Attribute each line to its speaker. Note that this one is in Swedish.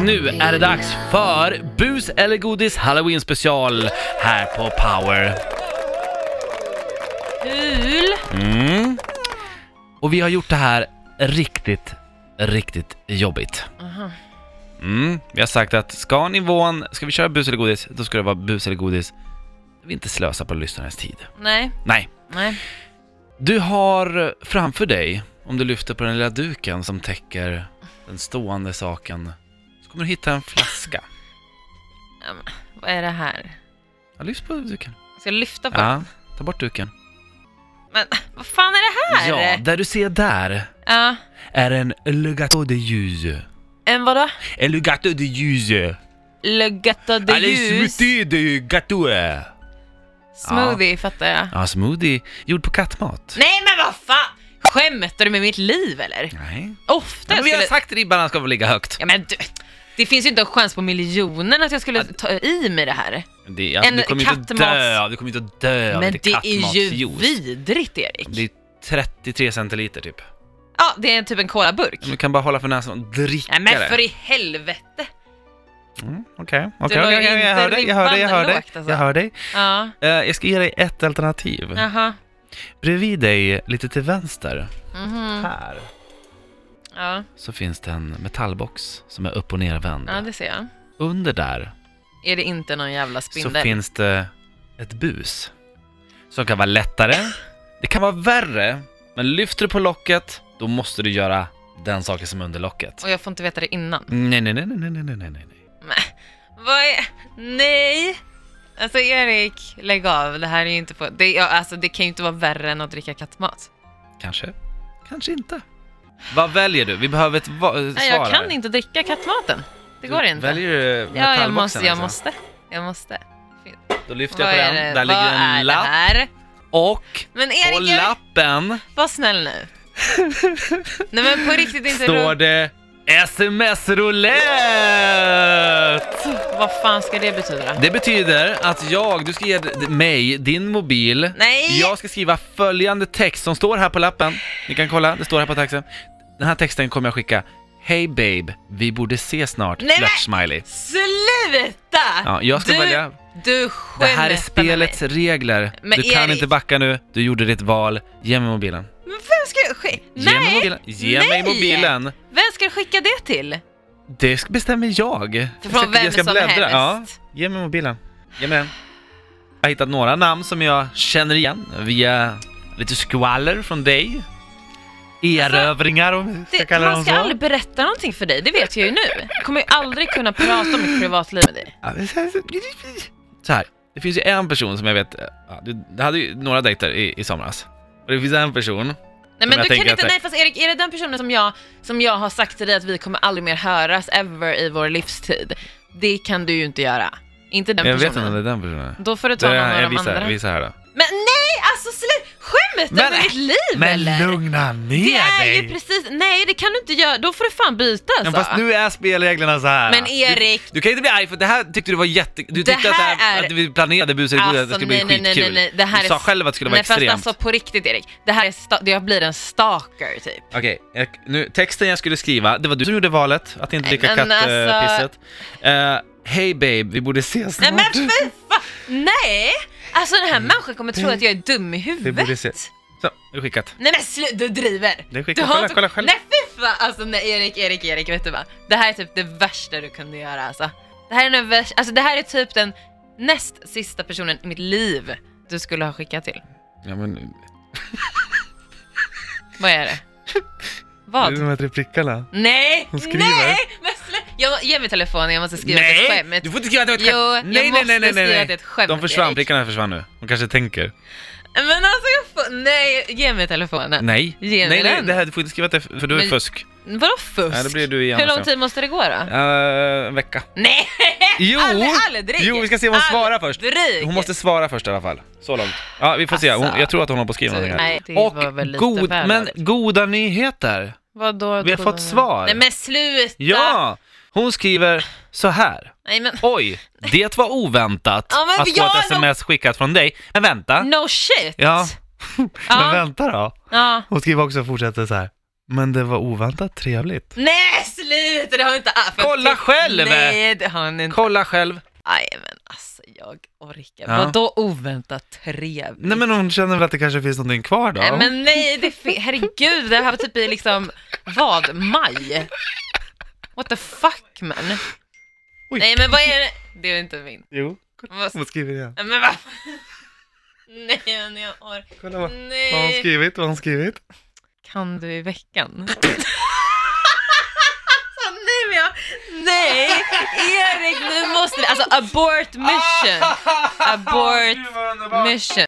Speaker 1: Nu är det dags för Bus eller godis Halloween special här på Power.
Speaker 2: Kul!
Speaker 1: Mm. Och vi har gjort det här riktigt, riktigt jobbigt.
Speaker 2: Aha.
Speaker 1: Mm. Vi har sagt att ska nivån, ska vi köra bus eller godis, då ska det vara bus eller godis. Vi vill inte slösa på lyssnarens tid.
Speaker 2: Nej,
Speaker 1: Nej.
Speaker 2: nej.
Speaker 1: Du har framför dig, om du lyfter på den lilla duken som täcker den stående saken, så kommer du hitta en flaska.
Speaker 2: Vad är det här?
Speaker 1: Ja, lyft på duken.
Speaker 2: Ska jag lyfta på?
Speaker 1: Ja, ta bort duken.
Speaker 2: Men vad fan är det här?
Speaker 1: Ja, där du ser där
Speaker 2: Ja.
Speaker 1: är en legato de ljus.
Speaker 2: En vadå?
Speaker 1: En legato de ljus.
Speaker 2: Le gâteau de ljus.
Speaker 1: de gâteau.
Speaker 2: Smoothie fattar jag.
Speaker 1: Ja, smoothie gjord på kattmat.
Speaker 2: Nej men vad fan! Skämtar du med mitt liv eller?
Speaker 1: Nej.
Speaker 2: Ofta
Speaker 1: Men vi har
Speaker 2: skulle...
Speaker 1: sagt ribban ska få ligga högt.
Speaker 2: Ja men du, det finns ju inte en chans på miljonen att jag skulle ta i mig det här.
Speaker 1: Det, alltså,
Speaker 2: En
Speaker 1: du kommer ju inte att
Speaker 2: kattmats.
Speaker 1: dö, du kommer ju inte att dö av
Speaker 2: men
Speaker 1: lite
Speaker 2: det är ju
Speaker 1: kattmatsjuice.
Speaker 2: vidrigt Erik.
Speaker 1: Det är 33 centiliter typ.
Speaker 2: Ja, det är typ en colaburk.
Speaker 1: Men Du kan bara hålla för näsan och dricka
Speaker 2: Nej men
Speaker 1: det.
Speaker 2: för i helvete!
Speaker 1: Mm, Okej, okej,
Speaker 2: la ju
Speaker 1: okej, jag
Speaker 2: inte
Speaker 1: hör dig, jag hör dig, jag hör
Speaker 2: ribban
Speaker 1: dig.
Speaker 2: lågt, alltså.
Speaker 1: Jag hör dig.
Speaker 2: Ja,
Speaker 1: Eh, Jag ska ge dig ett alternativ.
Speaker 2: jaha.
Speaker 1: Bredvid dig, lite till vänster,
Speaker 2: Mhm.
Speaker 1: här,
Speaker 2: Ja,
Speaker 1: så finns det en metallbox som är upp och nervänd.
Speaker 2: ja, det ser jag.
Speaker 1: Under där
Speaker 2: Är det inte någon jävla
Speaker 1: så
Speaker 2: spindel?
Speaker 1: finns det ett bus. Som kan vara lättare, det kan vara värre, men lyfter du på locket, då måste du göra den saken som är under locket.
Speaker 2: Och jag får inte veta det innan.
Speaker 1: Nej, nej, nej, nej, nej, nej, nej, nej, nej.
Speaker 2: Nej. Vad är... Nej! Alltså Erik, lägg av. Det här är ju inte på... Det, ja, alltså, det kan ju inte vara värre än att dricka kattmat.
Speaker 1: Kanske, kanske inte. Vad väljer du? Vi behöver ett va- svar
Speaker 2: Nej, jag
Speaker 1: här.
Speaker 2: kan inte dricka kattmaten. Det går
Speaker 1: Du
Speaker 2: inte.
Speaker 1: Väljer du
Speaker 2: ja,
Speaker 1: metallboxen?
Speaker 2: jag måste, jag
Speaker 1: alltså?
Speaker 2: måste. Jag måste.
Speaker 1: Då lyfter
Speaker 2: Vad
Speaker 1: jag på
Speaker 2: är
Speaker 1: den,
Speaker 2: det?
Speaker 1: där
Speaker 2: Vad
Speaker 1: ligger
Speaker 2: är
Speaker 1: en lapp
Speaker 2: det här?
Speaker 1: och
Speaker 2: Men
Speaker 1: på
Speaker 2: Erik, jag-
Speaker 1: lappen
Speaker 2: var snäll nu. Nej men på riktigt inte
Speaker 1: står det sms-roulette!
Speaker 2: Vad fan ska det betyda?
Speaker 1: Det betyder att jag, du ska ge d- mig din mobil.
Speaker 2: Nej!
Speaker 1: Jag ska skriva följande text som står här på lappen. Ni kan kolla, det står här på texten. Den här texten kommer jag skicka. Hej babe, vi borde ses snart.
Speaker 2: Nej, men-
Speaker 1: Flört-smiley.
Speaker 2: Sluta!
Speaker 1: Ja, jag ska
Speaker 2: du,
Speaker 1: välja.
Speaker 2: Du
Speaker 1: Det här är
Speaker 2: skämtar med
Speaker 1: spelets
Speaker 2: mig.
Speaker 1: regler.
Speaker 2: Men
Speaker 1: du kan
Speaker 2: Erik-
Speaker 1: inte backa nu, du gjorde ditt val. Ge mig mobilen.
Speaker 2: Men vem ska jag skicka?
Speaker 1: Ge mig
Speaker 2: Nej!
Speaker 1: mobilen. Ge
Speaker 2: Nej.
Speaker 1: mig mobilen.
Speaker 2: Vem ska jag skicka det till?
Speaker 1: Det sk- bestämmer jag. Jag
Speaker 2: Från vem som helst.
Speaker 1: Ja, ge mig mobilen. Ge mig den. Jag har hittat några namn som jag känner igen via lite skvaller från dig. Erövringar om vi
Speaker 2: Det,
Speaker 1: ska kalla
Speaker 2: man
Speaker 1: dem
Speaker 2: ska
Speaker 1: så.
Speaker 2: aldrig berätta någonting för dig, det vet jag ju nu. Jag kommer ju aldrig kunna prata om mitt privatliv med dig.
Speaker 1: Ja, men så här- Så här, det finns ju en person som jag vet, ja, du, du hade ju några dejter i, i somras. Och det finns en person,
Speaker 2: Nej
Speaker 1: jag
Speaker 2: men du
Speaker 1: tänker
Speaker 2: kan inte,
Speaker 1: att-
Speaker 2: nej fast Erik, är det den personen som jag, som jag har sagt till dig att vi kommer aldrig mer höras ever i vår livstid? Det kan du ju inte göra. Inte den
Speaker 1: jag vet
Speaker 2: personen.
Speaker 1: inte om det är den personen.
Speaker 2: Då får du ta
Speaker 1: Det
Speaker 2: någon
Speaker 1: är, jag
Speaker 2: av de
Speaker 1: visar,
Speaker 2: andra.
Speaker 1: visar här då.
Speaker 2: Men nej, alltså slut! Skämtar
Speaker 1: Men-
Speaker 2: du med mitt liv eller?
Speaker 1: lugna ner
Speaker 2: Det är ju precis, nej det kan du inte göra, då får du fan byta
Speaker 1: Ja,
Speaker 2: alltså.
Speaker 1: fast nu är spelreglerna så här.
Speaker 2: Men Erik,
Speaker 1: Du kan inte bli arg för det här tyckte du var jätte... Du
Speaker 2: Det
Speaker 1: tyckte att, det
Speaker 2: här
Speaker 1: här,
Speaker 2: är-
Speaker 1: att vi planerade buset alltså, att det
Speaker 2: Alltså,
Speaker 1: skulle bli
Speaker 2: nej, nej, nej,
Speaker 1: skitkul.
Speaker 2: nej, det här
Speaker 1: du
Speaker 2: är
Speaker 1: sa
Speaker 2: s-
Speaker 1: själv att det skulle vara
Speaker 2: nej fast
Speaker 1: extremt.
Speaker 2: alltså på riktigt Erik, det här är, sta- jag blir en stalker typ.
Speaker 1: Okej, jag- nu texten jag skulle skriva, det var du som gjorde valet att inte
Speaker 2: Nej,
Speaker 1: dricka
Speaker 2: men alltså-
Speaker 1: kattpisset. Eh, Hej babe, vi borde ses
Speaker 2: Nej
Speaker 1: snart.
Speaker 2: men fy fan, nej! Alltså den här människan kommer tro att jag är dum i
Speaker 1: Mm. Det borde se-
Speaker 2: huvudet.
Speaker 1: Så, det är skickat.
Speaker 2: Nej men sluta, du driver!
Speaker 1: Det är
Speaker 2: Du
Speaker 1: skickat,
Speaker 2: har
Speaker 1: kolla,
Speaker 2: inte-
Speaker 1: kolla själv.
Speaker 2: Nej fy fan, alltså nej Erik, Erik, Erik, vet du vad? Det här är typ det värsta du kunde göra alltså. Det här är, den värsta, alltså, det här är typ den näst sista personen i mitt liv du skulle ha skickat till.
Speaker 1: Ja, men,
Speaker 2: Vad är det?
Speaker 1: det är
Speaker 2: Vad?
Speaker 1: de här tre prickarna.
Speaker 2: Nej!
Speaker 1: Hon skriver.
Speaker 2: Nej! Men slä- jag, ge mig telefonen, jag måste skriva ett
Speaker 1: Nej!
Speaker 2: skämt.
Speaker 1: Du får inte skriva att det var ett
Speaker 2: Jo, jag
Speaker 1: skämt! Nej, nej,
Speaker 2: måste
Speaker 1: nej, nej,
Speaker 2: skriva
Speaker 1: nej,
Speaker 2: att det är ett skämt,
Speaker 1: De försvann,
Speaker 2: Erik.
Speaker 1: prickarna försvann nu. De kanske tänker.
Speaker 2: Men alltså jag får... Nej, ge mig telefonen.
Speaker 1: Nej,
Speaker 2: Ge mig
Speaker 1: nej, nej,
Speaker 2: den.
Speaker 1: det här, du får inte skriva att det, för du är
Speaker 2: Men-
Speaker 1: fusk.
Speaker 2: Vadå fusk?
Speaker 1: Nej, då blir du igen
Speaker 2: Hur lång
Speaker 1: sen.
Speaker 2: tid måste det gå då?
Speaker 1: Eh, en vecka.
Speaker 2: Nej!
Speaker 1: Jo!
Speaker 2: Aldrig, aldrig!
Speaker 1: Jo, vi ska se om hon svarar först.
Speaker 2: Aldrig.
Speaker 1: Hon måste svara först i alla fall. Så långt. Ja, vi får se. Hon,
Speaker 2: Alltså.
Speaker 1: jag tror att hon håller på att skriva någonting här.
Speaker 2: Nej, det var väl
Speaker 1: Och
Speaker 2: lite
Speaker 1: god,
Speaker 2: väl
Speaker 1: men
Speaker 2: dåligt.
Speaker 1: goda nyheter!
Speaker 2: Vadå,
Speaker 1: Vi har
Speaker 2: tror
Speaker 1: fått
Speaker 2: du?
Speaker 1: svar.
Speaker 2: Nej men sluta!
Speaker 1: Ja! Hon skriver så här.
Speaker 2: Nej men...
Speaker 1: Oj, det var oväntat
Speaker 2: Ja, men
Speaker 1: att få
Speaker 2: jag
Speaker 1: ett
Speaker 2: har nog-
Speaker 1: sms skickat från dig. Men vänta.
Speaker 2: No shit!
Speaker 1: Ja.
Speaker 2: Ja.
Speaker 1: vänta då.
Speaker 2: Ja.
Speaker 1: Hon skriver också och fortsätter så här. Men det var oväntat trevligt.
Speaker 2: Nej sluta! lite, det har inte ah, för att-
Speaker 1: Kolla själv!
Speaker 2: Nej, det har hon inte.
Speaker 1: Kolla själv.
Speaker 2: Nej men alltså jag orkar.
Speaker 1: Ja.
Speaker 2: Vadå oväntat trevligt?
Speaker 1: Nej men hon känner väl att det kanske finns någonting kvar då?
Speaker 2: Nej, men nej, det fin- herregud, det här var typ i liksom, vad, maj? What the fuck man?
Speaker 1: Oj.
Speaker 2: Nej men vad är det? Det är inte min.
Speaker 1: Jo, kolla
Speaker 2: Vad-
Speaker 1: vad hon skriver igen.
Speaker 2: Nej men vad? Nej men jag orkar.
Speaker 1: Kolla vad, vad har hon
Speaker 2: Nej.
Speaker 1: skrivit, vad har hon skrivit.
Speaker 2: Kan du i veckan? Alltså, Nej, men jag, nej,
Speaker 1: Ah,
Speaker 2: Erik, nu måste vi, alltså abort mission, abort mission.